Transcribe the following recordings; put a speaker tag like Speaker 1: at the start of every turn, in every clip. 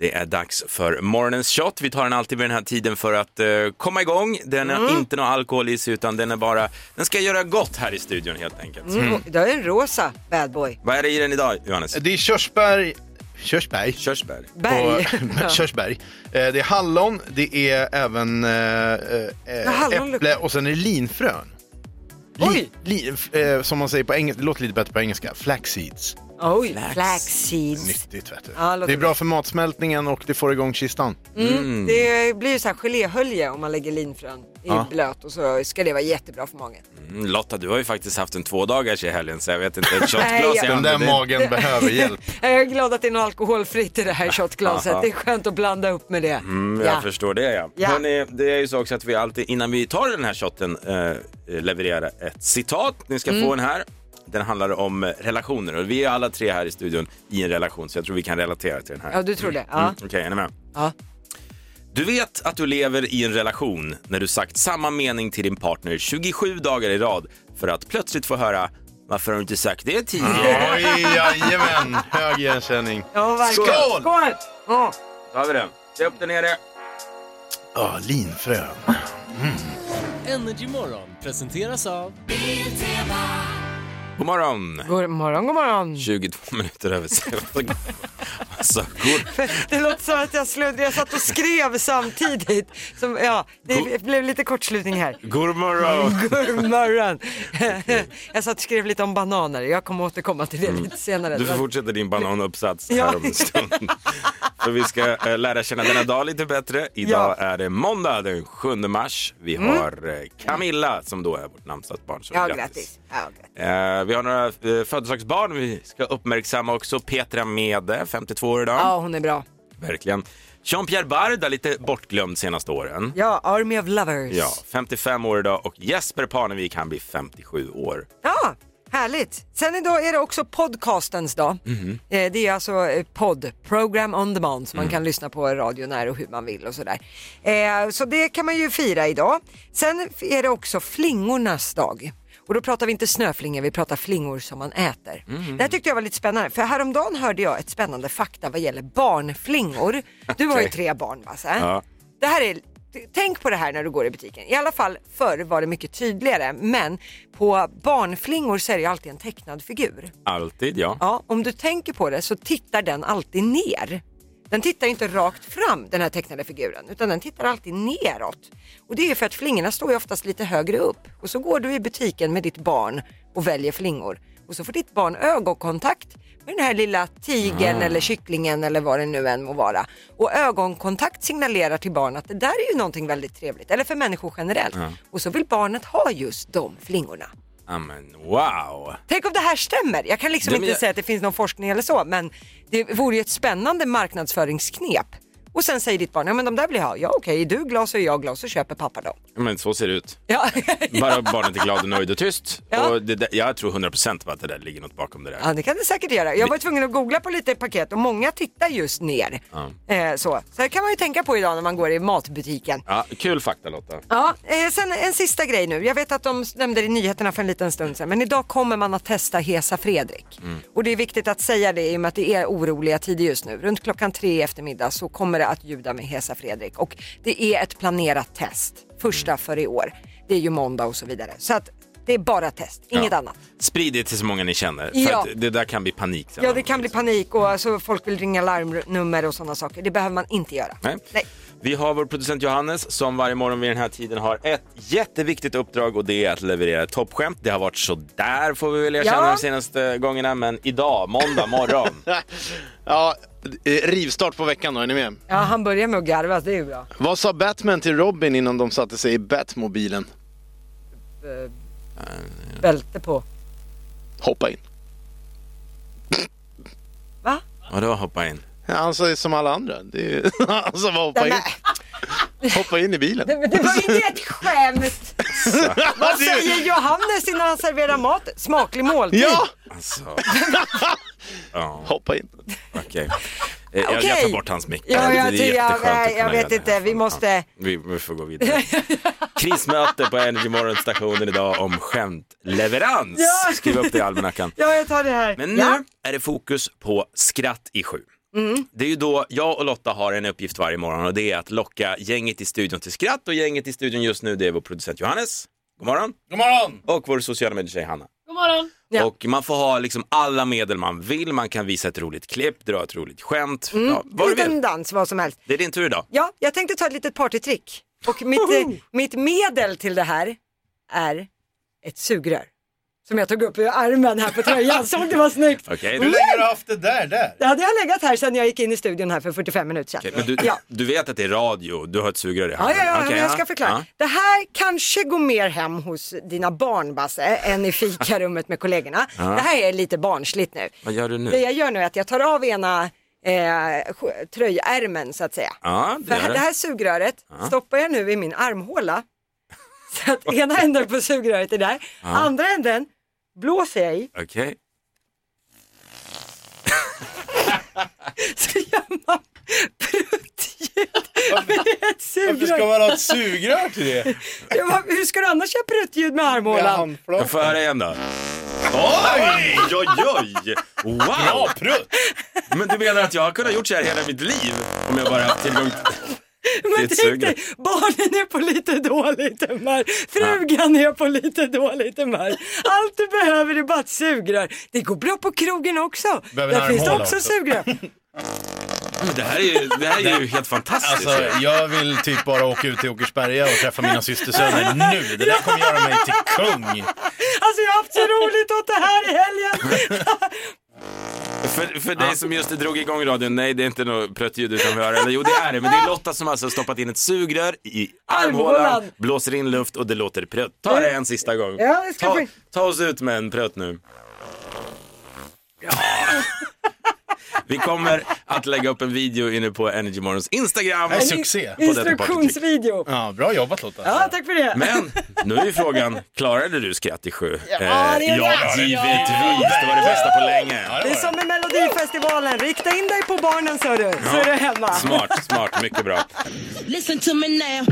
Speaker 1: Det är dags för morgonens shot. Vi tar den alltid vid den här tiden för att eh, komma igång. Den har inte någon alkohol i sig utan den är bara, den ska göra gott här i studion helt enkelt.
Speaker 2: Du har ju en rosa bad boy.
Speaker 1: Vad är det i den idag Johannes?
Speaker 3: Det är körsbär, körsbär,
Speaker 1: Körsbär.
Speaker 2: Berg.
Speaker 3: Och, körsbär. Eh, Det är hallon, det är även eh, eh,
Speaker 2: hallon
Speaker 3: äpple
Speaker 2: luktar-
Speaker 3: och sen är det linfrön.
Speaker 2: Oj!
Speaker 3: li, f- eh, som man säger på engelska, det låter lite bättre på engelska, flaxseeds.
Speaker 2: Oj,
Speaker 1: Flax.
Speaker 2: flaxseeds.
Speaker 3: Nyttigt vet du.
Speaker 2: Ja, låter
Speaker 3: det är bra för matsmältningen och det får igång kistan.
Speaker 2: Mm. Det blir ju så här geléhölje om man lägger linfrön i
Speaker 3: Ja.
Speaker 2: blöt och så ska det vara jättebra för magen.
Speaker 1: Mm, Lotta, du har ju faktiskt haft en tvådagars i helgen så jag vet inte, ett
Speaker 2: Nej,
Speaker 1: shotglas i
Speaker 2: jag-
Speaker 3: Den
Speaker 1: handen,
Speaker 3: där
Speaker 1: det-
Speaker 3: magen behöver hjälp.
Speaker 2: Jag är glad att det är något alkoholfritt i det här shotglaset. Det är skönt att blanda upp med det.
Speaker 1: Mm, jag förstår det ja.
Speaker 2: Ja.
Speaker 1: Hörrni, det är ju så också att vi alltid innan vi tar den här shotten eh, levererar ett citat. Ni ska få en här. Den handlar om relationer och vi är alla tre här i studion i en relation så jag tror vi kan relatera till den här.
Speaker 2: Ja, du tror det? Ja.
Speaker 1: Mm, Okej, är ni med?
Speaker 2: Ja.
Speaker 1: Du vet att du lever i en relation när du sagt samma mening till din partner 27 dagar i rad för att plötsligt få höra varför har du inte sagt det tidigare?
Speaker 3: Oj, jajamän, hög igenkänning.
Speaker 2: Ja, verkligen.
Speaker 3: Skål!
Speaker 2: Skål! Ja.
Speaker 1: Då har vi det. Se upp där nere.
Speaker 3: Ja, linfrön.
Speaker 4: Energy Morgon presenteras av
Speaker 1: God morgon.
Speaker 2: God morgon, god morgon.
Speaker 1: 22 minuter över sex. alltså, god...
Speaker 2: Det låter som att jag sluddrade. Jag satt och skrev samtidigt. Som, ja, det blev lite kortslutning här.
Speaker 1: god morgon.
Speaker 2: God morgon. Jag satt och skrev lite om bananer. Jag kommer återkomma till det lite senare.
Speaker 1: Mm. Du får fortsätta din bananuppsats
Speaker 2: Ja.
Speaker 1: här om en stund. För vi ska eh, lära känna denna dag lite bättre. Idag är det måndag den 7 mars. Vi har eh, Camilla som då är vårt namnsdagsbarn. Så
Speaker 2: Ja, grattis. Ja, grattis.
Speaker 1: Eh, vi har några eh, födelsedagsbarn vi ska uppmärksamma också. Petra Mede, 52 år idag.
Speaker 2: ja, hon är bra.
Speaker 1: Verkligen. Jean-Pierre Barda, lite bortglömd senaste åren.
Speaker 2: Ja, Army of Lovers.
Speaker 1: Ja, 55 år idag och Jesper Parnevik han blir 57 år.
Speaker 2: Ja, härligt. Sen idag är det också podcastens dag.
Speaker 1: Mhm.
Speaker 2: Eh, Det är alltså eh, podd, program on demand,
Speaker 1: Mm.
Speaker 2: som man kan lyssna på i radio när och hur man vill och sådär. Eh, Så det kan man ju fira idag. Sen är det också flingornas dag. Och då pratar vi inte snöflingor, vi pratar flingor som man äter.
Speaker 1: Mhm.
Speaker 2: Det här tyckte jag var lite spännande, för häromdagen hörde jag ett spännande fakta vad gäller barnflingor. Du har ju
Speaker 1: Okej.
Speaker 2: tre barn Basse.
Speaker 1: Ja.
Speaker 2: Det här är, tänk på det här när du går i butiken. I alla fall förr var det mycket tydligare men på barnflingor så är det ju alltid en tecknad figur.
Speaker 1: Alltid ja.
Speaker 2: Ja, om du tänker på det så tittar den alltid ner. Den tittar ju inte rakt fram den här tecknade figuren utan den tittar alltid neråt. Och det är ju för att flingorna står ju oftast lite högre upp och så går du i butiken med ditt barn och väljer flingor och så får ditt barn ögonkontakt med den här lilla tigern eller kycklingen eller vad det nu än må vara. Och ögonkontakt signalerar till barn att det där är ju någonting väldigt trevligt, eller för människor generellt. Och så vill barnet ha just de flingorna.
Speaker 1: Ja, men wow.
Speaker 2: Tänk om det här stämmer. Jag kan liksom
Speaker 1: Det-
Speaker 2: inte
Speaker 1: jag-
Speaker 2: säga att det finns någon forskning eller så, men det vore ju ett spännande marknadsföringsknep. Och sen säger ditt barn, ja men de där vill jag ha. Ja okej, är du glad så är jag glad så köper pappa dem.
Speaker 1: Men så ser det ut.
Speaker 2: Ja,
Speaker 1: Bara barnet är glad och nöjd och tyst.
Speaker 2: Ja.
Speaker 1: Och det, där- jag tror 100% på att det där ligger något bakom det där.
Speaker 2: ja det kan det säkert göra. Jag var tvungen att googla på lite paket och många tittar just ner. Eh, så. så det kan man ju tänka på idag när man går i matbutiken.
Speaker 1: Ja, kul fakta Lotta.
Speaker 2: Ja, eh, sen en sista grej nu. Jag vet att de nämnde det i nyheterna för en liten stund sedan, men idag kommer man att testa Hesa Fredrik.
Speaker 1: Mm.
Speaker 2: Och det är viktigt att säga det i och med att det är oroliga tider just nu. Runt klockan tre i eftermiddag så kommer det att ljuda med Hesa Fredrik och det är ett planerat test.
Speaker 1: Mm.
Speaker 2: Första för i år. Det är ju måndag och så vidare. Så att det är bara test, inget
Speaker 1: Ja.
Speaker 2: annat.
Speaker 1: Sprid det till så många ni känner. För
Speaker 2: Ja.
Speaker 1: att det där kan bli panik sen.
Speaker 2: Ja, det kan bli panik och alltså, folk vill ringa larmnummer och sådana saker. Det behöver man inte göra.
Speaker 1: Nej. Vi har vår producent Johannes som varje morgon vid den här tiden har ett jätteviktigt uppdrag och det är att leverera toppskämt. Det har varit sådär får vi väl erkänna
Speaker 2: Ja.
Speaker 1: de senaste gångerna men idag, måndag morgon.
Speaker 3: Ja, eh, rivstart på veckan då, är ni med?
Speaker 2: Ja, han börjar med att garva, det är ju bra.
Speaker 3: Vad sa Batman till Robin innan de satte sig i Batmobilen?
Speaker 2: Eh, Bälte på.
Speaker 3: Hoppa in.
Speaker 2: Va?
Speaker 1: Vadå hoppa in?
Speaker 3: Ja, han sa ju som alla andra. Det är... Han sa bara hoppa in.
Speaker 2: Nej,
Speaker 3: Hoppa in i bilen.
Speaker 2: men det var ju inte ett skämt! Vad
Speaker 1: Alltså,
Speaker 3: Det är-
Speaker 2: säger Johannes innan han serverar mat? Smaklig måltid.
Speaker 3: Ja!
Speaker 1: Alltså, ja,
Speaker 3: Hoppa in.
Speaker 1: okej. Eh, Jag, jag
Speaker 2: Okej.
Speaker 1: tar bort hans mick.
Speaker 2: Ja,
Speaker 1: Det
Speaker 2: jag
Speaker 1: är
Speaker 2: tycker-
Speaker 1: jätteskönt att
Speaker 2: jag-
Speaker 1: kunna
Speaker 2: jag vet
Speaker 1: göra det
Speaker 2: inte,
Speaker 1: här.
Speaker 2: vi måste-
Speaker 1: Ja, vi, vi får gå vidare. Krismöte på Energy Morgon-stationen idag om skämtleverans.
Speaker 2: Ja.
Speaker 1: Skriv upp det i almanackan.
Speaker 2: Ja, Mm. jag tar det här.
Speaker 1: Men nu
Speaker 2: Ja.
Speaker 1: är det fokus på skratt i sju. Det är ju då jag och Lotta har en uppgift varje morgon och det är att locka gänget i studion till skratt och gänget i studion just nu det är vår producent Johannes. God morgon!
Speaker 4: God morgon!
Speaker 1: Och vår sociala medietjej Hanna.
Speaker 5: God morgon.
Speaker 2: Ja.
Speaker 1: Och man får ha liksom alla medel man vill, man kan visa ett roligt klipp, dra ett roligt skämt, ja, vad
Speaker 2: Mm. En
Speaker 1: du
Speaker 2: liten
Speaker 1: vill.
Speaker 2: dans, vad som helst.
Speaker 1: Det är din tur idag.
Speaker 2: Ja, jag tänkte ta ett litet partytrick. Och mitt, eh, mitt medel till det här är ett sugrör. Som jag tog upp ur armen här på tröjan, såg det var snyggt.
Speaker 1: Okej,
Speaker 3: Hur länge har du haft det där? där?
Speaker 2: Det hade jag legat här sedan jag gick in i studion här för 45 minuter sedan.
Speaker 1: Okej, men du,
Speaker 2: Ja.
Speaker 1: du vet att det är radio, du har ett sugrör i
Speaker 2: Ja,
Speaker 1: handen.
Speaker 2: ja, ja,
Speaker 1: Okej,
Speaker 2: men jag ska förklara.
Speaker 1: Ja.
Speaker 2: Det här kanske går mer hem hos dina barn, Basse, än i fikarummet med kollegorna. Det här är lite barnsligt nu.
Speaker 1: Vad gör du nu?
Speaker 2: Det jag gör nu är att jag tar av ena eh, sk- tröjärmen, så att säga.
Speaker 1: Ja, det
Speaker 2: För
Speaker 1: gör
Speaker 2: det
Speaker 1: det.
Speaker 2: här sugröret stoppar jag nu i min armhåla. Så att ena änden på sugröret är där, andra änden blåser jag i.
Speaker 1: Okej.
Speaker 2: Så gör man pruttljud med ett
Speaker 3: Varför ska
Speaker 2: sugrör.
Speaker 3: man ha ett sugrör till det?
Speaker 2: Ja, vad- Hur ska du annars göra pruttljud med
Speaker 3: Med
Speaker 2: armhålan?
Speaker 1: Jag
Speaker 3: handflatan?
Speaker 1: får höra igen då. Oj, oj, oj! Wow!
Speaker 3: Ja, prutt!
Speaker 1: Men du menar att jag har kunnat gjort så här hela mitt liv om jag bara haft tillgång till...
Speaker 2: Men
Speaker 1: Ditt
Speaker 2: tänk dig,
Speaker 1: sugrör.
Speaker 2: barnen är på lite dåligt humör, frugan är på lite dåligt humör. Allt du behöver är bara ett sugrör. Det går bra på krogen också.
Speaker 3: Behöver en
Speaker 2: Där finns det
Speaker 3: armhåla
Speaker 2: också
Speaker 3: också.
Speaker 2: sugrör.
Speaker 1: Men Det här är ju, det här är ju helt fantastiskt.
Speaker 3: Alltså, jag vill typ bara åka ut till Åkersberga och träffa mina systersöner nu. Det där kommer göra mig till kung.
Speaker 2: Alltså jag har haft så roligt åt det här i helgen.
Speaker 1: För, för dig som just drog igång radion, nej det är inte något pruttljud utan vi hör, eller jo det är det, men det är Lotta som alltså har stoppat in ett sugrör i armhålan,
Speaker 2: Armhålan. Mm.
Speaker 1: blåser in luft och det låter prutt. Ta det en sista gång.
Speaker 2: Ja, jag ska
Speaker 1: ta,
Speaker 2: få-
Speaker 1: ta oss ut med en prutt nu. Ja. Vi kommer att lägga upp en video inne på Energymorgons Instagram.
Speaker 3: Nej, Succé på
Speaker 1: detta partytrick.
Speaker 2: Instruktionsvideo.
Speaker 3: Ja, bra jobbat Lotta.
Speaker 2: Ja, tack för det.
Speaker 1: Men nu är frågan, klarade du skratt i sju? Ja, det
Speaker 2: är
Speaker 1: ja
Speaker 2: klart.
Speaker 1: givetvis. Det var det bästa på länge.
Speaker 3: Ja,
Speaker 2: Det är
Speaker 3: var
Speaker 2: som med Melodifestivalen, rikta in dig på barnen så du, så är du hemma.
Speaker 1: Smart, smart, mycket bra.
Speaker 6: Listen to me now.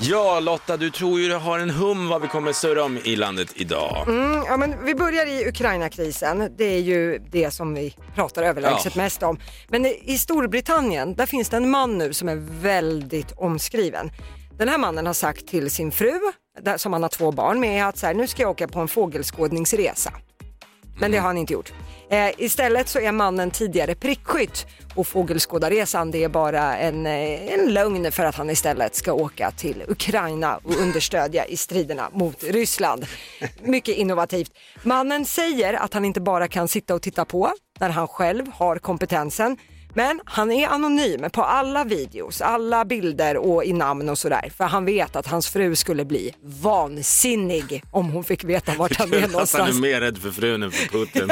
Speaker 1: Ja, Lotta, du tror ju du har en hum vad vi kommer surra om i landet idag.
Speaker 2: Mm, ja, men vi börjar i Ukraina-krisen, det är ju det som vi pratar överlägset
Speaker 1: Ja.
Speaker 2: mest om. Men i i Storbritannien, där finns det en man nu som är väldigt omskriven. Den här mannen har sagt till sin fru, där- som han har två barn med, att så här, nu ska jag åka på en fågelskådningsresa. Men det har han inte gjort. Eh, istället så är mannen tidigare prickskytt och fågelskådarresan det är bara en, eh, en lögn för att han istället ska åka till Ukraina och understödja i striderna mot Ryssland. Mycket innovativt. Mannen säger att han inte bara kan sitta och titta på när han själv har kompetensen men han är anonym på alla videos, alla bilder och i namn och sådär. För han vet att hans fru skulle bli vansinnig om hon fick veta vart han är
Speaker 1: Att han är
Speaker 2: någonstans.
Speaker 1: mer rädd för frun än för Putin.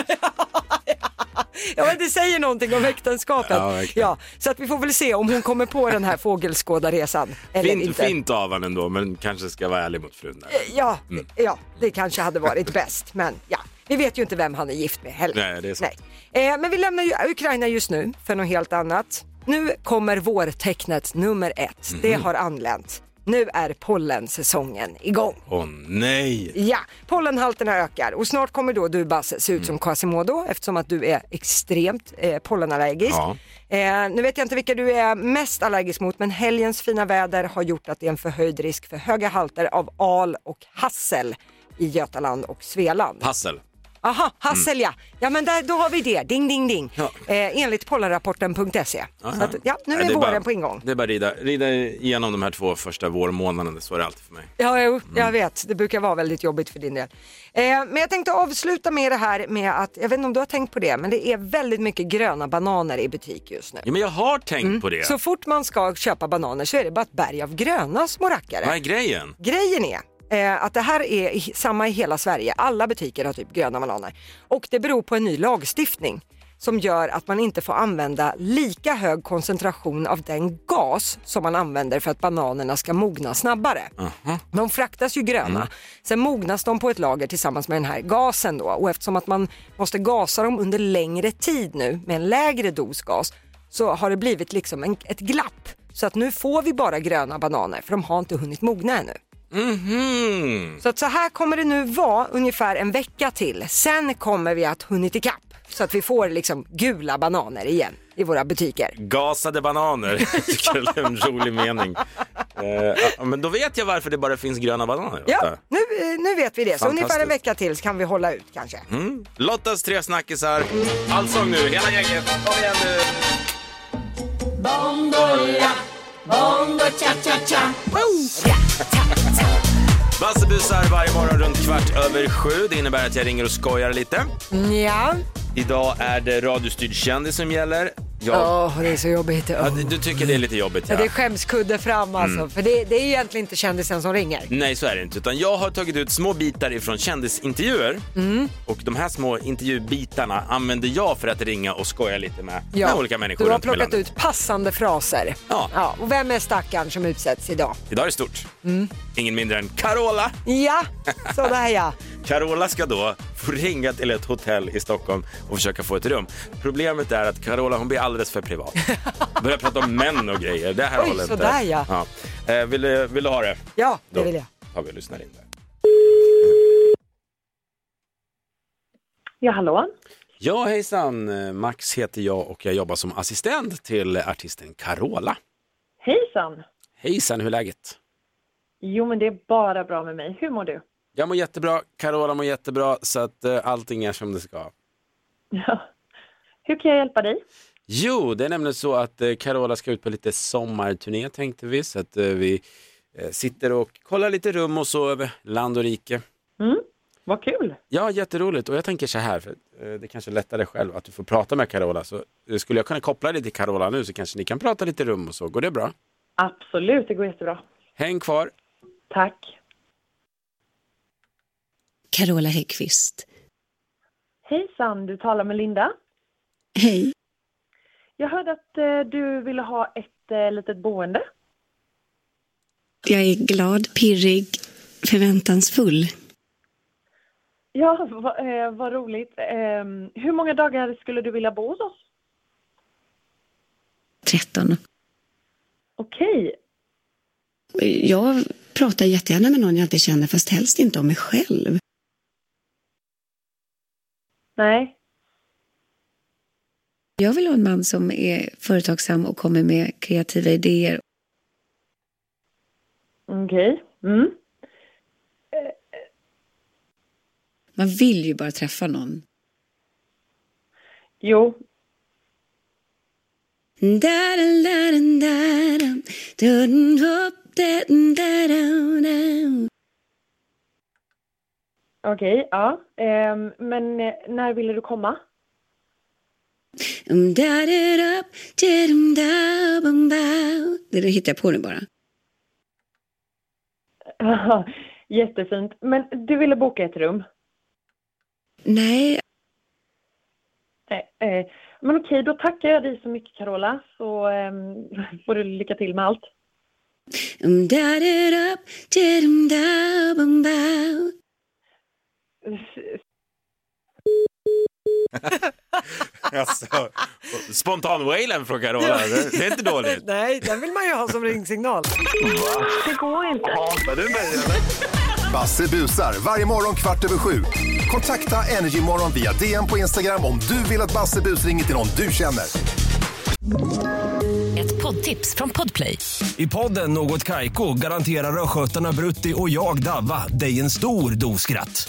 Speaker 2: Ja men det säger någonting om äktenskapet.
Speaker 1: Ja,
Speaker 2: Ja,
Speaker 1: verkligen.
Speaker 2: så att vi får väl se om hon kommer på den här fågelskådarresan eller
Speaker 1: Fint,
Speaker 2: inte.
Speaker 1: fint av han ändå, men kanske ska vara ärlig mot frun. Där.
Speaker 2: Ja,
Speaker 1: Mm.
Speaker 2: ja, det kanske hade varit bäst men ja. Vi vet ju inte vem han är gift med heller.
Speaker 1: Nej, det är sant.
Speaker 2: Nej. Eh, men vi lämnar ju Ukraina just nu för något helt annat. Nu kommer vårtecknet nummer ett. Det
Speaker 1: Mhm.
Speaker 2: har anlänt. Nu är pollensäsongen igång.
Speaker 1: Åh nej!
Speaker 2: Ja, pollenhalterna ökar och snart kommer då du Basse se ut
Speaker 1: Mm.
Speaker 2: som Quasimodo eftersom att du är extremt eh, pollenallergisk.
Speaker 1: Ja.
Speaker 2: Eh, nu vet jag inte vilka du är mest allergisk mot men helgens fina väder har gjort att det är en förhöjd risk för höga halter av al och hassel i Götaland och Svealand.
Speaker 1: Hassel. Mm.
Speaker 2: Aha, hassel ja. Ja men där, då har vi det, ding ding ding. Eh, enligt pollenrapporten.se. E. Så att, ja, nu är,
Speaker 1: Nej, det
Speaker 2: våren
Speaker 1: bara-
Speaker 2: på ingång.
Speaker 1: Det är bara rida, rida igenom de här två första vårmånaderna, så är det alltid för mig.
Speaker 2: Ja, jo, jag vet. Det brukar vara väldigt jobbigt för din del. Eh, men jag tänkte avsluta med det här med att, jag vet inte om du har tänkt på det, men det är väldigt mycket gröna bananer i butik just nu.
Speaker 1: Ja, men jag har tänkt på det.
Speaker 2: Mm. Så fort man ska köpa bananer så är det bara ett berg av gröna små rackare.
Speaker 1: Vad är grejen?
Speaker 2: Grejen är eh, att det här är i- samma i hela Sverige. Alla butiker har typ gröna bananer. Och det beror på en ny lagstiftning som gör att man inte får använda lika hög koncentration av den gas som man använder för att bananerna ska mogna snabbare. De fraktas ju gröna. Sen mognas de på ett lager tillsammans med den här gasen då och eftersom att man måste gasa dem under längre tid nu med en lägre dos gas så har det blivit liksom en, ett glapp. Så att nu får vi bara gröna bananer för de har inte hunnit mogna ännu.
Speaker 1: Mhm.
Speaker 2: Så, att så här kommer det nu vara ungefär en vecka till. Sen kommer vi att hunnit ikapp så att vi får liksom gula bananer igen i våra butiker.
Speaker 1: Gasade bananer. Jag tycker det är en rolig mening. Eh, ja, men då vet jag varför det bara finns gröna bananer.
Speaker 2: Ja,
Speaker 1: ofta.
Speaker 2: nu, eh, nu vet vi det. Så
Speaker 1: Fantastiskt. Mm.
Speaker 2: ungefär en vecka till så kan vi hålla ut kanske.
Speaker 1: Lottas tre snackisar. Allsång nu, hela gänget. Kom igen nu. Bassebusar varje morgon runt kvart över sju. Det innebär att jag ringer och skojar lite.
Speaker 2: Mm, Ja,
Speaker 1: Idag är det radiostyrd kändis som gäller. Jag,
Speaker 2: Åh, det är så jobbigt.
Speaker 1: ja,
Speaker 2: Oh.
Speaker 1: du- du tycker det Mm. är lite jobbigt,
Speaker 2: Ja,
Speaker 1: ja.
Speaker 2: det är skämskudde fram alltså. För det, det är ju egentligen inte kändisen som ringer.
Speaker 1: Nej, så är det inte. Utan jag har tagit ut små bitar ifrån kändisintervjuer.
Speaker 2: Mm.
Speaker 1: Och de här små intervjubitarna använder jag för att ringa och skoja lite med,
Speaker 2: Ja.
Speaker 1: med olika människor
Speaker 2: du har
Speaker 1: runt om i
Speaker 2: plockat
Speaker 1: landet.
Speaker 2: ut passande fraser.
Speaker 1: Ja.
Speaker 2: och vem är stackaren som utsätts idag?
Speaker 1: Idag är det stort.
Speaker 2: Mm.
Speaker 1: Ingen mindre än Carola.
Speaker 2: Ja, sådär ja.
Speaker 1: Carola ska då få ringa till ett hotell i Stockholm och försöka få ett rum. Problemet är att Carola hon blir alldeles för privat. Börjar prata om män och grejer. Det här
Speaker 2: Oj,
Speaker 1: håller inte.
Speaker 2: sådär, ja.
Speaker 1: Ja. Eh, vill, du- vill du ha det?
Speaker 2: Ja,
Speaker 1: Då
Speaker 2: det vill jag.
Speaker 1: tar vi och lyssnar in det.
Speaker 5: Ja, hallå?
Speaker 1: Ja, hejsan. Max heter jag och jag jobbar som assistent till artisten Carola.
Speaker 5: Hejsan!
Speaker 1: Hejsan, hur är läget?
Speaker 5: Jo, men det är bara bra med mig. Hur mår du?
Speaker 1: Jag mår jättebra, Carola mår jättebra, så att eh, allting är som det ska.
Speaker 5: Ja. Hur kan jag hjälpa dig?
Speaker 1: Jo, det är nämligen så att eh, Carola ska ut på lite sommarturné tänkte vi. Så att eh, vi eh, sitter och kollar lite rum och så över land och rike.
Speaker 5: Vad kul!
Speaker 1: Ja, jätteroligt. Och jag tänker så här, för eh, det kanske är lättare själv att du får prata med Carola. Så eh, skulle jag kunna koppla dig till Carola nu så kanske ni kan prata lite rum och så. Går det bra?
Speaker 5: Absolut, det går jättebra.
Speaker 1: Häng kvar.
Speaker 5: Tack.
Speaker 6: Carola Häggkvist.
Speaker 5: Hejsan, du talar med Linda.
Speaker 6: Hej.
Speaker 5: Jag hörde att eh, du ville ha ett eh, litet boende.
Speaker 6: Jag är glad, pirrig, förväntansfull.
Speaker 5: Ja, va, eh, vad roligt. Eh, hur många dagar skulle du vilja bo hos oss?
Speaker 6: 13.
Speaker 5: Okej.
Speaker 6: Jag pratar jättegärna med någon jag inte känner, fast helst inte om mig själv.
Speaker 5: Nej.
Speaker 6: Jag vill ha en man som är företagsam och kommer med kreativa idéer.
Speaker 5: Okej. Mm.
Speaker 6: Man vill ju bara träffa någon.
Speaker 5: Jo.
Speaker 6: Dun, dun, dun, dun, dun, dun, dun.
Speaker 5: Okej, ja. Eh, men eh, när ville du komma?
Speaker 6: Um, da, da, da, dum, da, bum, ba. Det där hittar jag på nu bara.
Speaker 5: Jättefint. Men du ville boka ett rum?
Speaker 6: Nej,
Speaker 5: Nej, eh, men okej, då tackar jag dig så mycket Carola, så eh, får du lycka till med allt.
Speaker 6: Um, da, da, da, dum, da, bum, ba.
Speaker 1: Alltså, Spontan-wailen från Carola, det det är inte dåligt.
Speaker 2: Nej, den vill man ju ha som ringsignal.
Speaker 5: Det går inte.
Speaker 7: Basse busar varje morgon kvart över sju. Kontakta Energymorgon via DM på Instagram om du vill att Basse bus ringer till någon du känner.
Speaker 8: Ett poddtips från Podplay.
Speaker 9: I podden Något Kaiko garanterar östgötarna Brutti och jag, Davva, dig en stor dos skratt.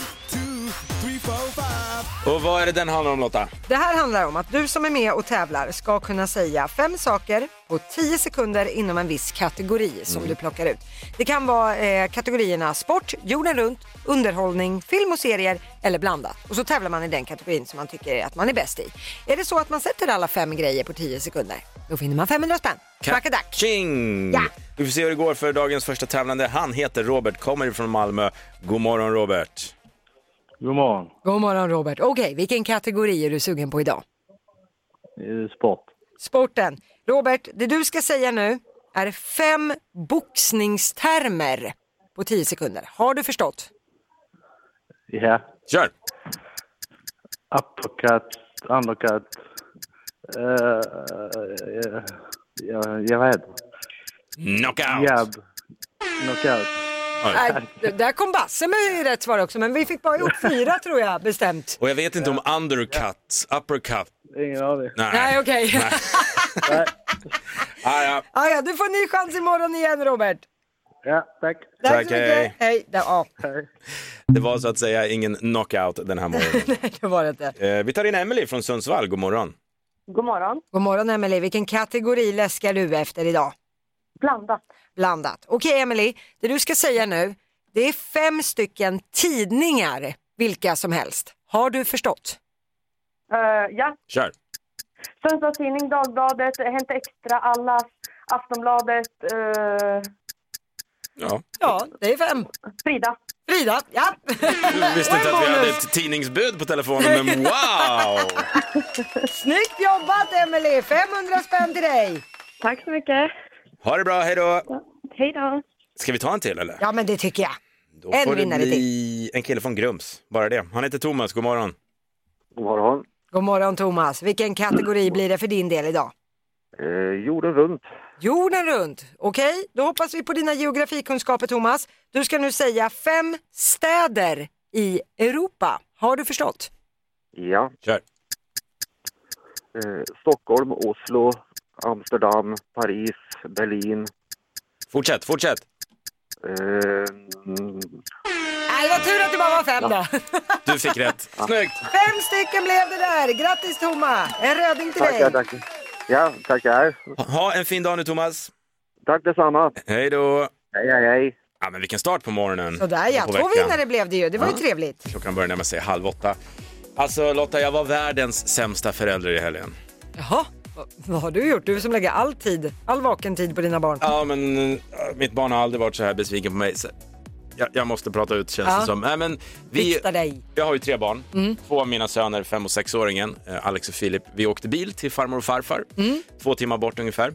Speaker 1: Och vad är det den handlar om Lotta?
Speaker 2: Det här handlar om att du som är med och tävlar ska kunna säga fem saker på tio sekunder inom en viss kategori som du plockar ut. Det kan vara eh, kategorierna sport, jorden runt, underhållning, film och serier eller blandat. Och så tävlar man i den kategorin som man tycker att man är bäst i. Är det så att man sätter alla fem grejer på tio sekunder, då vinner man 500 spänn. Kvackadack!
Speaker 1: Ching!
Speaker 2: Ja.
Speaker 1: Vi får se hur det går för dagens första tävlande. Han heter Robert, kommer från Malmö. God morgon Robert!
Speaker 2: God morgon Robert. Okej, vilken kategori är du sugen på idag?
Speaker 10: eh, sport.
Speaker 2: Sporten. Robert, det du ska säga nu är fem boxningstermer på 10 sekunder. Har du förstått?
Speaker 10: Ja.
Speaker 1: Kör!
Speaker 10: Uppercut, undercut. Uh, uh, jag, jag vet.
Speaker 1: Knockout!
Speaker 10: Jab. Knockout.
Speaker 2: Nej, det- där kom Basse med rätt svar också, men vi fick bara ihop fyra tror jag bestämt.
Speaker 1: Och jag vet inte om undercut, uppercut.
Speaker 10: Ingen aning.
Speaker 1: Nej.
Speaker 2: Nej, okej.
Speaker 1: Ah, ja.
Speaker 2: Ah, ja, du får en ny chans imorgon igen Robert.
Speaker 10: Ja, tack.
Speaker 2: Tack,
Speaker 1: Tack,
Speaker 2: så mycket.
Speaker 1: hej.
Speaker 2: Hej. Där, ja.
Speaker 1: Det var så att säga ingen knockout den här morgonen.
Speaker 2: Nej, det var det inte.
Speaker 1: Eh, vi tar in Emily från Sundsvall, god morgon.
Speaker 2: God morgon. God morgon Emily. Vilken kategori läskar du efter idag? Blandat. Blandat. Okej Emily, det du ska säga nu, det är fem stycken tidningar, vilka som helst. Har du förstått?
Speaker 5: Eh, ja,
Speaker 1: Kör!
Speaker 5: Sundsvalls Tidning, Dagbladet,
Speaker 11: eh,
Speaker 5: Hämta Extra, Allas, Aftonbladet. eh,
Speaker 1: Ja.
Speaker 2: Ja, det är fem.
Speaker 5: Frida.
Speaker 2: Frida, ja.
Speaker 1: Jag visste inte att vi hade ett tidningsbud på telefonen, men wow!
Speaker 2: Snyggt jobbat Emily. 500 spänn till dig. Tack så mycket.
Speaker 1: Ha det bra, hej då!
Speaker 2: Hej då.
Speaker 1: Ska vi ta en till eller?
Speaker 2: Ja men det tycker jag.
Speaker 1: Då
Speaker 2: en
Speaker 1: får det
Speaker 2: vinnare till.
Speaker 1: bli en kille från Grums, bara det. Han heter Thomas, god morgon.
Speaker 10: God morgon.
Speaker 2: God morgon Thomas. Vilken kategori blir det för din del idag?
Speaker 10: Eh, jorden runt.
Speaker 2: Jorden runt. Okej, då hoppas vi på dina geografikunskaper Thomas. Du ska nu säga fem städer i Europa. Har du förstått?
Speaker 10: Ja.
Speaker 1: Kör.
Speaker 10: Eh, Stockholm, Oslo, Amsterdam, Paris, Berlin.
Speaker 1: Fortsätt, fortsätt.
Speaker 10: Eh,
Speaker 2: Nej, Äh, det var tur att det bara var fem då.
Speaker 1: Du fick rätt. Snyggt!
Speaker 2: Fem stycken blev det där. Grattis Thomas! En röding till dig.
Speaker 10: tackar, tackar. Ja, tackar.
Speaker 1: Ha en fin dag nu Thomas.
Speaker 10: Tack detsamma.
Speaker 1: Hej då!
Speaker 10: Hej, hej, hej.
Speaker 1: Ja, men vilken start på morgonen.
Speaker 2: Sådär ja,
Speaker 1: Och på
Speaker 2: två
Speaker 1: veckan.
Speaker 2: vinnare blev det ju. Det var
Speaker 1: Mm.
Speaker 2: ju trevligt.
Speaker 1: Klockan börjar närma sig halv åtta. Alltså Lotta, jag var världens sämsta förälder i helgen.
Speaker 2: Jaha, vad, vad har du gjort? Du som lägger all tid, all vaken tid på dina barn.
Speaker 1: Ja, men eh, mitt barn har aldrig varit så här besviken på mig. Så jag, jag måste prata ut känns
Speaker 2: Ja.
Speaker 1: det som. Nej, men vi,
Speaker 2: Vikta dig.
Speaker 1: jag har ju tre barn.
Speaker 2: Mm.
Speaker 1: Två av mina söner, fem och sexåringen, eh, Alex och Filip. Vi åkte bil till farmor och farfar,
Speaker 2: Mm.
Speaker 1: två timmar bort ungefär.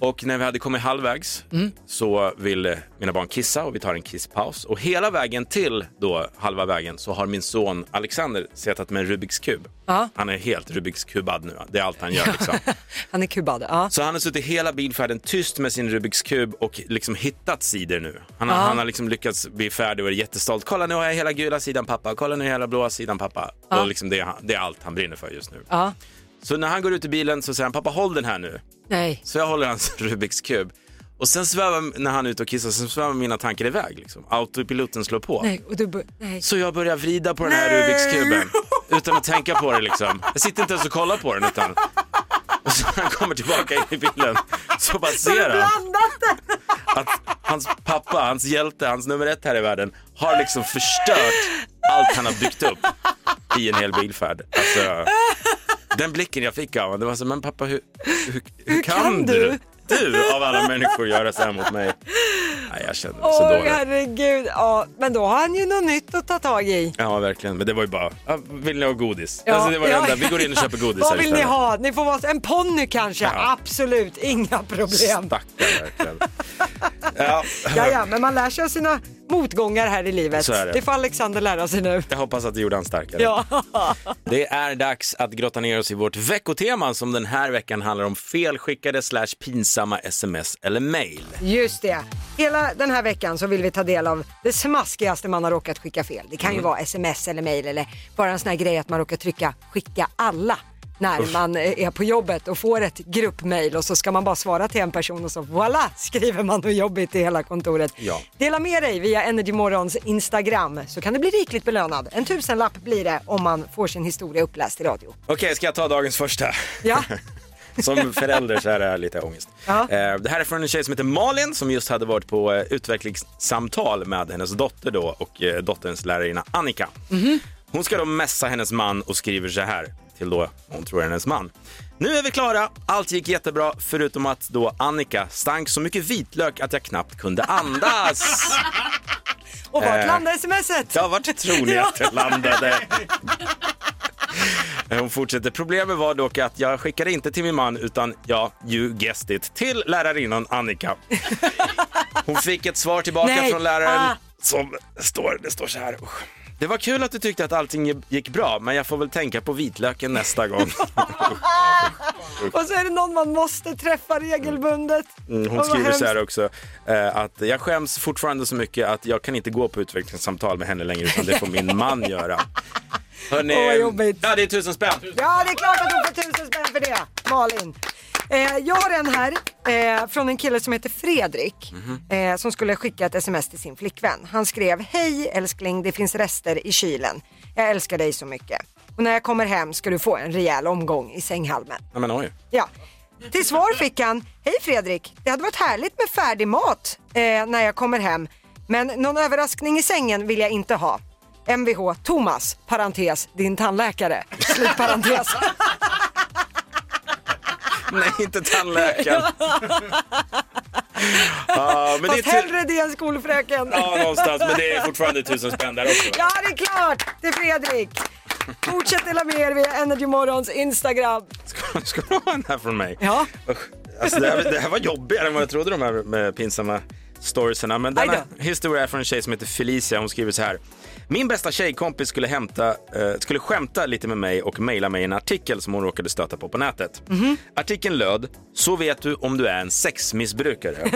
Speaker 1: Och när vi hade kommit halvvägs
Speaker 2: Mm.
Speaker 1: så ville mina barn kissa och vi tar en kisspaus. Och hela vägen till då halva vägen så har min son Alexander suttit med en Rubiks kub.
Speaker 2: Ja.
Speaker 1: Han är helt Rubiks kubad nu. Det är allt han gör liksom.
Speaker 2: Han är kubad. Ja.
Speaker 1: Så han har suttit hela bilfärden tyst med sin Rubiks kub och liksom hittat sidor nu. Han,
Speaker 2: Ja.
Speaker 1: har han har liksom lyckats bli färdig och är jättestolt. Kolla nu har jag hela gula sidan pappa, kolla nu har jag hela blåa sidan pappa.
Speaker 2: Ja.
Speaker 1: Och liksom det, är han- det är allt han brinner för just nu.
Speaker 2: ja.
Speaker 1: Så när han går ut ur bilen så säger han pappa håll den här nu.
Speaker 2: Nej.
Speaker 1: Så jag håller hans Rubiks kub. Och sen svävar, när han är ute och kissar, sen svävar mina tankar iväg. Liksom. Autopiloten slår på.
Speaker 2: Nej. Och du bör- Nej.
Speaker 1: Så jag börjar vrida på den här Rubiks kuben utan att tänka på det liksom. Jag sitter inte ens och kollar på den utan... Och så när han kommer tillbaka in i bilen så bara ser han att hans pappa, hans hjälte, hans nummer ett här i världen har liksom förstört allt han har byggt upp i en hel bilfärd. Alltså, den blicken jag fick av honom, det var så, men pappa hur, hur, hur, kan, du? Du av alla människor göra så här mot mig. Nej, jag kände mig så
Speaker 2: Åh
Speaker 1: dålig.
Speaker 2: herregud. Ja, men då har han ju något nytt att ta tag i.
Speaker 1: Ja, verkligen. Men det var ju bara, ja, vill ni ha godis?
Speaker 2: Ja,
Speaker 1: alltså, det var det
Speaker 2: ja,
Speaker 1: enda. Vi går in och köper godis
Speaker 2: Vad
Speaker 1: här
Speaker 2: vill ni
Speaker 1: istället.
Speaker 2: ha? Ni får vara en ponny kanske?
Speaker 1: Ja.
Speaker 2: Absolut, inga problem.
Speaker 1: Stackare, verkligen. ja.
Speaker 2: Ja, ja, men man lär sig av sina motgångar här i livet.
Speaker 1: Så är det.
Speaker 2: får Alexander lära sig nu.
Speaker 1: Jag hoppas att det gjorde han starkare.
Speaker 2: Ja.
Speaker 1: Det är dags att grotta ner oss i vårt veckotema som den här veckan handlar om felskickade slash pinsamma sms eller mejl.
Speaker 2: Just det. Hela den här veckan så vill vi ta del av det smaskigaste man har råkat skicka fel. Det kan ju
Speaker 1: Mm.
Speaker 2: vara sms eller mejl eller bara en sån här grej att man råkar trycka skicka alla när
Speaker 1: Usch.
Speaker 2: man eh, är på jobbet och får ett gruppmejl och så ska man bara svara till en person och så voila skriver man och jobbigt i hela kontoret.
Speaker 1: Ja.
Speaker 2: Dela med dig via Energymorgons Instagram så kan du bli rikligt belönad. En tusenlapp blir det om man får sin historia uppläst i radio.
Speaker 1: Okej, ska jag ta dagens första?
Speaker 2: Ja.
Speaker 1: Som förälder så är det lite ångest.
Speaker 2: Ja.
Speaker 1: Eh, Det här är från en tjej som heter Malin som just hade varit på eh, utvecklingssamtal med hennes dotter då och eh, dotterns lärarinna Annika.
Speaker 2: Mhm.
Speaker 1: Hon ska då messa hennes man och skriver så här till då hon tror är hennes man. Nu är vi klara. Allt gick jättebra förutom att då Annika stank så mycket vitlök att jag knappt kunde andas.
Speaker 2: Och vart
Speaker 1: Eh,
Speaker 2: landar smset?
Speaker 1: Ja, vart tror ni att det landade? Hon fortsätter. Problemet var dock att jag skickade inte till min man utan, ja, you guessed it, till lärarinnan Annika. Hon fick ett svar tillbaka
Speaker 11: Nej.
Speaker 1: från läraren
Speaker 11: Ah.
Speaker 1: som står, det står så här. usch. Det var kul att du tyckte att allting gick bra, men jag får väl tänka på vitlöken nästa gång.
Speaker 2: Och så är det någon man måste träffa regelbundet.
Speaker 1: Mm,
Speaker 2: Och
Speaker 1: Hon
Speaker 2: vad
Speaker 1: skriver så här
Speaker 2: hemskt.
Speaker 1: också, eh, att jag skäms fortfarande så mycket att jag kan inte gå på utvecklingssamtal med henne längre utan det får min man göra. Hörrni,
Speaker 2: Åh, vad
Speaker 1: ja, det är tusen spänn.
Speaker 2: Ja, det är klart att hon får tusen spänn för det, Malin. Eh, jag har en här eh, från en kille som heter Fredrik
Speaker 1: Mhm.
Speaker 2: eh, som skulle skicka ett sms till sin flickvän. Han skrev Hej älskling, det finns rester i kylen. Jag älskar dig så mycket. Och när jag kommer hem ska du få en rejäl omgång i sänghalmen.
Speaker 1: Ja, men oj.
Speaker 2: Ja. Till svar fick han, hej Fredrik, det hade varit härligt med färdig mat eh, när jag kommer hem, men någon överraskning i sängen vill jag inte ha. Mvh Thomas, parentes, din tandläkare, slut parentes.
Speaker 1: Nej, inte tandläkaren. Ja, men det är
Speaker 2: Fast
Speaker 1: tu-
Speaker 2: hellre det än skolfröken.
Speaker 1: ja, någonstans, men det är fortfarande tusen spänn där också.
Speaker 2: Ja, det är klart, det är Fredrik. Fortsätt dela med er via Energy Morgons Instagram.
Speaker 1: Ska du ha en här från mig?
Speaker 2: Ja.
Speaker 1: Alltså, det, här, det här var jobbigare än vad jag trodde de här med pinsamma storiesarna. Men denna historia är från en tjej som heter Felicia. Hon skriver så här. Min bästa tjejkompis skulle, hämta, eh, skulle skämta lite med mig och mejla mig en artikel som hon råkade stöta på på nätet.
Speaker 2: Mhm.
Speaker 1: Artikeln löd “Så vet du om du är en sexmissbrukare”.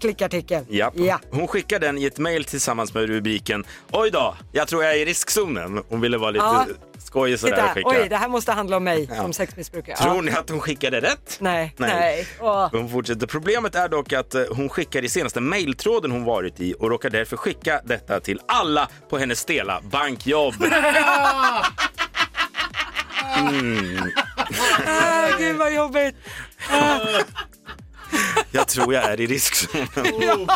Speaker 2: Klickartikeln.
Speaker 1: Japp. Hon skickade den i ett mejl tillsammans med rubriken “Oj då, jag tror jag är i riskzonen”. Hon ville vara lite
Speaker 2: Ja.
Speaker 1: skojig sådär och
Speaker 2: Titta,
Speaker 1: skicka.
Speaker 2: oj, det här måste handla om mig
Speaker 1: Ja.
Speaker 2: som sexmissbrukare.
Speaker 1: Tror
Speaker 2: Ja.
Speaker 1: ni att hon skickade rätt?
Speaker 2: Nej,
Speaker 1: Nej.
Speaker 2: nej. Åh.
Speaker 1: Hon fortsätter. Problemet är dock att eh, hon skickar i senaste mejltråden hon varit i och råkar därför skicka detta till alla på hennes stela bankjobb. Mm.
Speaker 2: Ah, gud vad jobbigt. Ah.
Speaker 1: Jag tror jag är i riskzonen.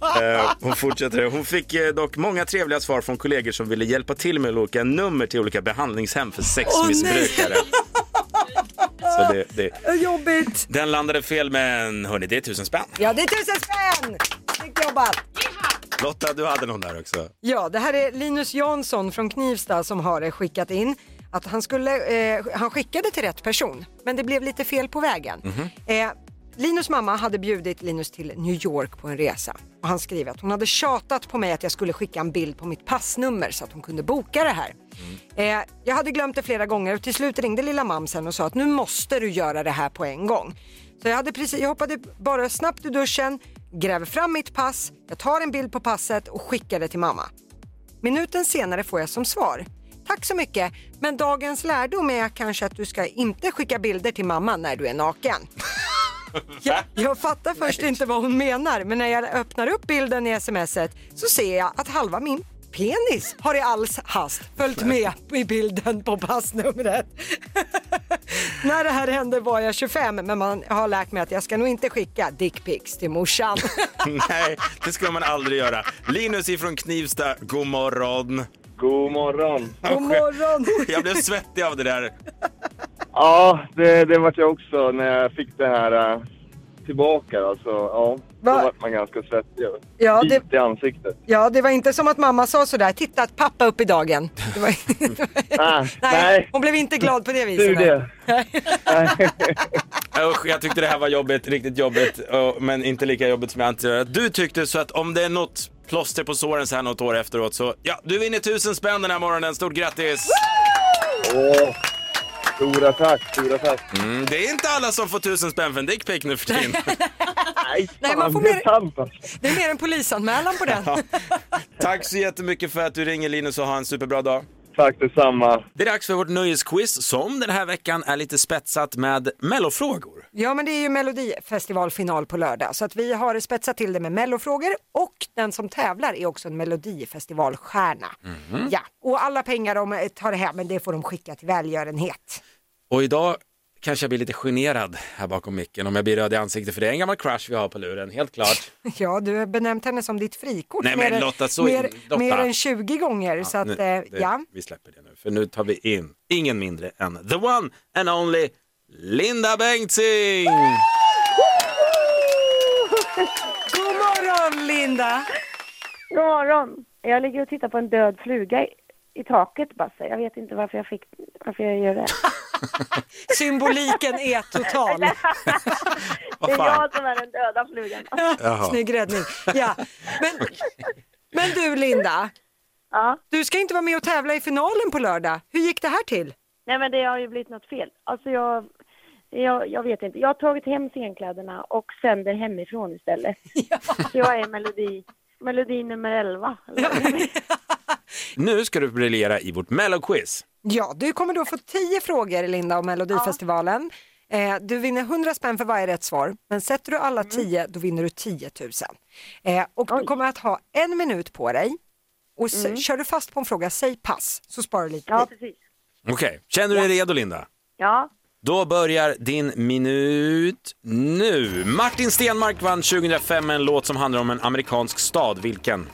Speaker 1: Eh, Hon fortsätter. Hon fick eh, dock många trevliga svar från kollegor som ville hjälpa till med olika nummer till olika behandlingshem för sexmissbrukare. Så det, det.
Speaker 2: Vad Jobbigt.
Speaker 1: Den landade fel, men hörni, det är tusen spänn.
Speaker 2: Ja, det är tusen spänn! Snyggt jobbat!
Speaker 1: Lotta, du hade någon där också.
Speaker 2: Ja, det här är Linus Jansson från Knivsta som har eh, skickat in att han, skulle, eh, han skickade till rätt person, men det blev lite fel på vägen. Eh, Linus mamma hade bjudit Linus till New York på en resa och han skriver att hon hade tjatat på mig att jag skulle skicka en bild på mitt passnummer så att hon kunde boka det här. Eh, jag hade glömt det flera gånger och till slut ringde lilla mamsen och sa att nu måste du göra det här på en gång. Så jag, hade precis, jag hoppade bara snabbt ur duschen, gräver fram mitt pass, jag tar en bild på passet och skickar det till mamma. Minuten senare får jag som svar. Tack så mycket, men dagens lärdom är kanske att du ska inte skicka bilder till mamma när du är naken. Jag, jag fattar först inte vad hon menar, men när jag öppnar upp bilden i smset så ser jag att halva min penis har i all hast följt med i bilden på passnumret. när det här hände var jag 25, men man har lärt mig att jag ska nog inte skicka dickpics till morsan.
Speaker 1: Nej, det ska man aldrig göra. Linus ifrån Knivsta, god morgon.
Speaker 10: God morgon.
Speaker 2: God morgon.
Speaker 1: Jag blev svettig av det där.
Speaker 10: Ja, det, det vart jag också när jag fick det här äh, tillbaka. Alltså, ja, då
Speaker 2: Va?
Speaker 10: vart man ganska svettig.
Speaker 2: Ja, det-
Speaker 10: Vit i ansiktet.
Speaker 2: Ja, det var inte som att mamma sa sådär, titta att pappa upp i dagen. Det var...
Speaker 10: Ah,
Speaker 2: Nej, hon blev inte glad på det viset.
Speaker 1: Tur det.
Speaker 2: Nej.
Speaker 1: Usch, jag tyckte det här var jobbigt, riktigt jobbigt, och- men inte lika jobbigt som jag antar att du tyckte. Så att om det är något plåster på såren så här något år efteråt så, ja, du vinner tusen spänn den här morgonen. Stort grattis!
Speaker 10: Åh, stora tack, stora tack.
Speaker 1: Mm, det är inte alla som får tusen spänn för en dickpic nu för tiden.
Speaker 2: Nej, man får
Speaker 10: det är alltså.
Speaker 2: mer... Det är mer en polisanmälan på den.
Speaker 1: Tack så jättemycket för att du ringer Linus och ha en superbra dag.
Speaker 10: Tack detsamma.
Speaker 1: Det är dags för vårt nöjesquiz som den här veckan är lite spetsat med mellofrågor.
Speaker 2: Ja, men det är ju Melodifestivalfinal på lördag så att vi har spetsat till det med mellofrågor och den som tävlar är också en Melodifestivalstjärna. Ja, och alla pengar de tar hem, men det får de skicka till välgörenhet.
Speaker 1: Och idag kanske jag blir lite generad här bakom micken om jag blir röd i ansiktet för det är en gammal crush vi har på luren, helt klart.
Speaker 2: Ja, du har benämnt henne som ditt frikort
Speaker 1: Nej, men
Speaker 2: mer,
Speaker 1: Lotta, så-
Speaker 2: mer,
Speaker 1: Lotta.
Speaker 2: mer än 20 gånger. så att,
Speaker 1: nu,
Speaker 2: eh,
Speaker 1: det-
Speaker 2: ja.
Speaker 1: Vi släpper det nu, för nu tar vi in ingen mindre än the one and only Linda Bengtzing!
Speaker 2: God morgon Linda!
Speaker 12: God morgon! Jag ligger och tittar på en död fluga i-
Speaker 11: i taket, Basse. Jag vet inte varför jag, fick, varför jag gör det.
Speaker 2: Symboliken är total.
Speaker 11: Det är jag som är den döda flugan.
Speaker 1: Jaha.
Speaker 2: Snygg räddning. Ja. Men, men du Linda, du ska inte vara med och tävla i finalen på lördag. Hur gick det här till?
Speaker 11: Nej men det har ju blivit något fel. Alltså jag, jag, jag vet inte. Jag har tagit hem scenkläderna och sänder hemifrån istället. Så jag är melodi, melodi nummer 11.
Speaker 1: Nu ska du briljera i vårt melloquiz.
Speaker 2: Ja, du kommer då få 10 frågor Linda om Melodifestivalen. Eh, du vinner 100 spänn för varje rätt svar, men sätter du
Speaker 11: Mm.
Speaker 2: alla 10 då vinner du 10 000. Eh, och du kommer att ha en minut på dig och s-
Speaker 11: Mm.
Speaker 2: kör du fast på en fråga, säg pass, så sparar du lite
Speaker 11: Ja,
Speaker 2: tid.
Speaker 11: precis.
Speaker 1: Okej, känner du dig redo Linda?
Speaker 11: Ja,
Speaker 1: Då börjar din minut nu. Martin Stenmark vann 2005 med en låt som handlar om en amerikansk stad. Vilken?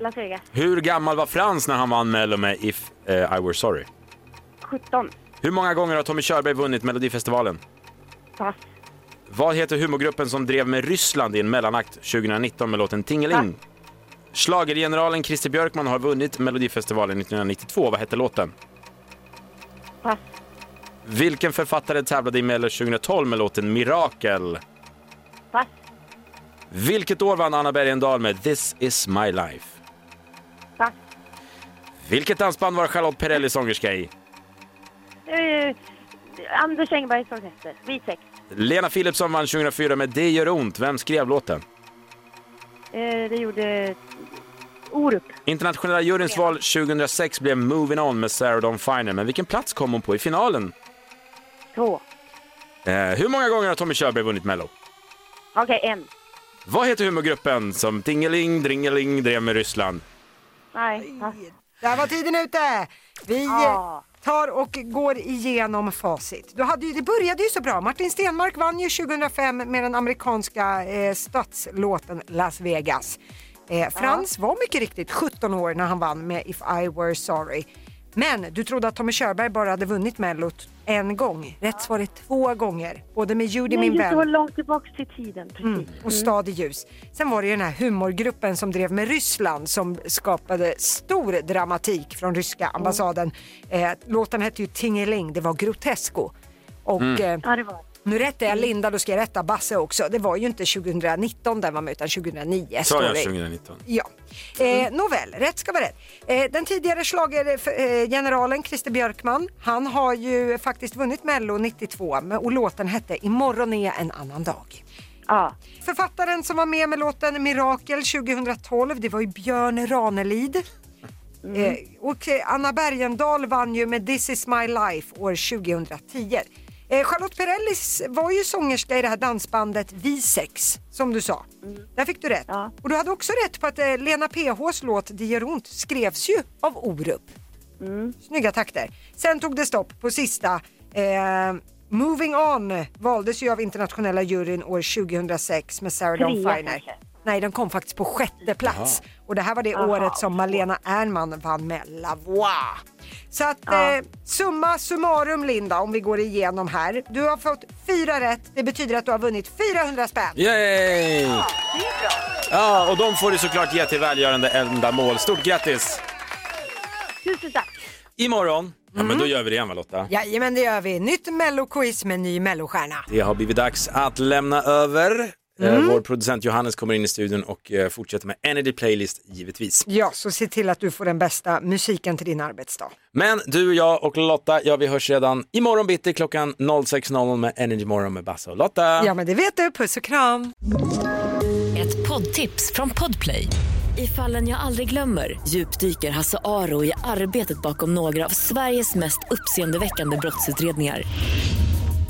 Speaker 11: Las Vegas.
Speaker 1: Hur gammal var Frans när han vann Mello med If eh, I Were Sorry?
Speaker 11: 17.
Speaker 1: Hur många gånger har Tommy Körberg vunnit Melodifestivalen?
Speaker 11: Pass.
Speaker 1: Vad heter humorgruppen som drev med Ryssland i en mellanakt 2019 med låten Tingeling? Schlagergeneralen Christer Björkman har vunnit Melodifestivalen 1992. Vad hette låten?
Speaker 11: Pass.
Speaker 1: Vilken författare tävlade i Mello 2012 med låten Mirakel?
Speaker 11: Pass.
Speaker 1: Vilket år vann Anna Bergendahl med This is my life?
Speaker 11: Pass.
Speaker 1: Vilket dansband var Charlotte Perrelli sångerska i?
Speaker 11: Eh, Anders Engbergs orkester. Vi sex.
Speaker 1: Lena Philipsson vann 2004 med Det gör ont. Vem skrev låten?
Speaker 11: Eh, det gjorde Orup.
Speaker 1: Internationella juryns val 2006 blev Moving On med Sarah Dawn Finer, men vilken plats kom hon på i finalen?
Speaker 11: Två.
Speaker 1: Eh, hur många gånger har Tommy Körberg vunnit Mello?
Speaker 11: Okej, en.
Speaker 1: Vad heter humorgruppen som Tingeling Dringeling drev med Ryssland?
Speaker 11: Nej, pass.
Speaker 2: Där var tiden ute! Vi eh, tar och går igenom facit. Du hade ju, det började ju så bra. Martin Stenmark vann ju 2005 med den amerikanska eh, stadslåten Las Vegas. Eh, Frans var mycket riktigt 17 år när han vann med If I Were Sorry. Men du trodde att Tommy Körberg bara hade vunnit Mellot en gång. Rätt svar är två gånger, både med Judy
Speaker 11: Nej,
Speaker 2: min
Speaker 11: det
Speaker 2: vän.
Speaker 11: är så långt tillbaka till tiden. Precis.
Speaker 2: Mm, och stad i ljus. Sen var det ju den här humorgruppen som drev med Ryssland som skapade stor dramatik från ryska ambassaden. Eh, låten hette ju Tingeling, det var grotesko. Och,
Speaker 11: Mm.
Speaker 2: eh,
Speaker 11: Ja, det var.
Speaker 2: Nu rättar jag Linda, då ska jag rätta Basse också. Det var ju inte 2019 den var med utan 2009.
Speaker 1: Sa jag
Speaker 2: står det.
Speaker 1: 2019?
Speaker 2: Ja. Eh, nåväl, rätt ska vara rätt. Eh, den tidigare schlagergeneralen Christer Björkman, han har ju faktiskt vunnit Mello 92 men- och låten hette Imorgon är en annan dag.
Speaker 11: Ja.
Speaker 2: Författaren som var med med låten Mirakel 2012, det var ju Björn Ranelid. Eh, och eh, Anna Bergendahl vann ju med This is my life år 2010. Eh, Charlotte Perrellis var ju sångerska i det här dansbandet Vi sex, som du sa. Där fick du rätt. Och du hade också rätt på att eh, Lena PHs låt Det gör ont skrevs ju av Orup. Snygga takter. Sen tog det stopp på sista. Eh, Moving On valdes ju av internationella juryn år 2006 med Sarah Dawn
Speaker 11: Trea
Speaker 2: Finer.
Speaker 11: kanske?
Speaker 2: Nej, den kom faktiskt på sjätte plats.
Speaker 11: Jaha.
Speaker 2: Och det här var det
Speaker 11: Aha.
Speaker 2: året som Malena Ernman vann med La Voix. Så att
Speaker 11: Ja.
Speaker 2: eh, summa summarum Linda, om vi går igenom här. Du har fått fyra rätt. Det betyder att du har vunnit 400 spänn.
Speaker 1: Yay! Ja, och de får du såklart ge till välgörande ändamål. Stort grattis!
Speaker 11: Tusen tack!
Speaker 1: Imorgon, ja men då gör vi det igen va Lotta?
Speaker 2: Jajamän, det gör vi. Nytt melloquiz med ny mellostjärna.
Speaker 1: Det har blivit dags att lämna över. Eh,
Speaker 2: Mm.
Speaker 1: Vår producent Johannes kommer in i studion och eh, fortsätter med Energy Playlist givetvis.
Speaker 2: Ja, så se till att du får den bästa musiken till din arbetsdag.
Speaker 1: Men du, jag och Lotta, ja vi hörs redan imorgon bitti klockan 06.00 med Energy Morgon med Basse och Lotta.
Speaker 2: Ja, men det vet du. Puss och kram.
Speaker 8: Ett poddtips från Podplay. I fallen jag aldrig glömmer djupdyker Hasse Aro i arbetet bakom några av Sveriges mest uppseendeväckande brottsutredningar.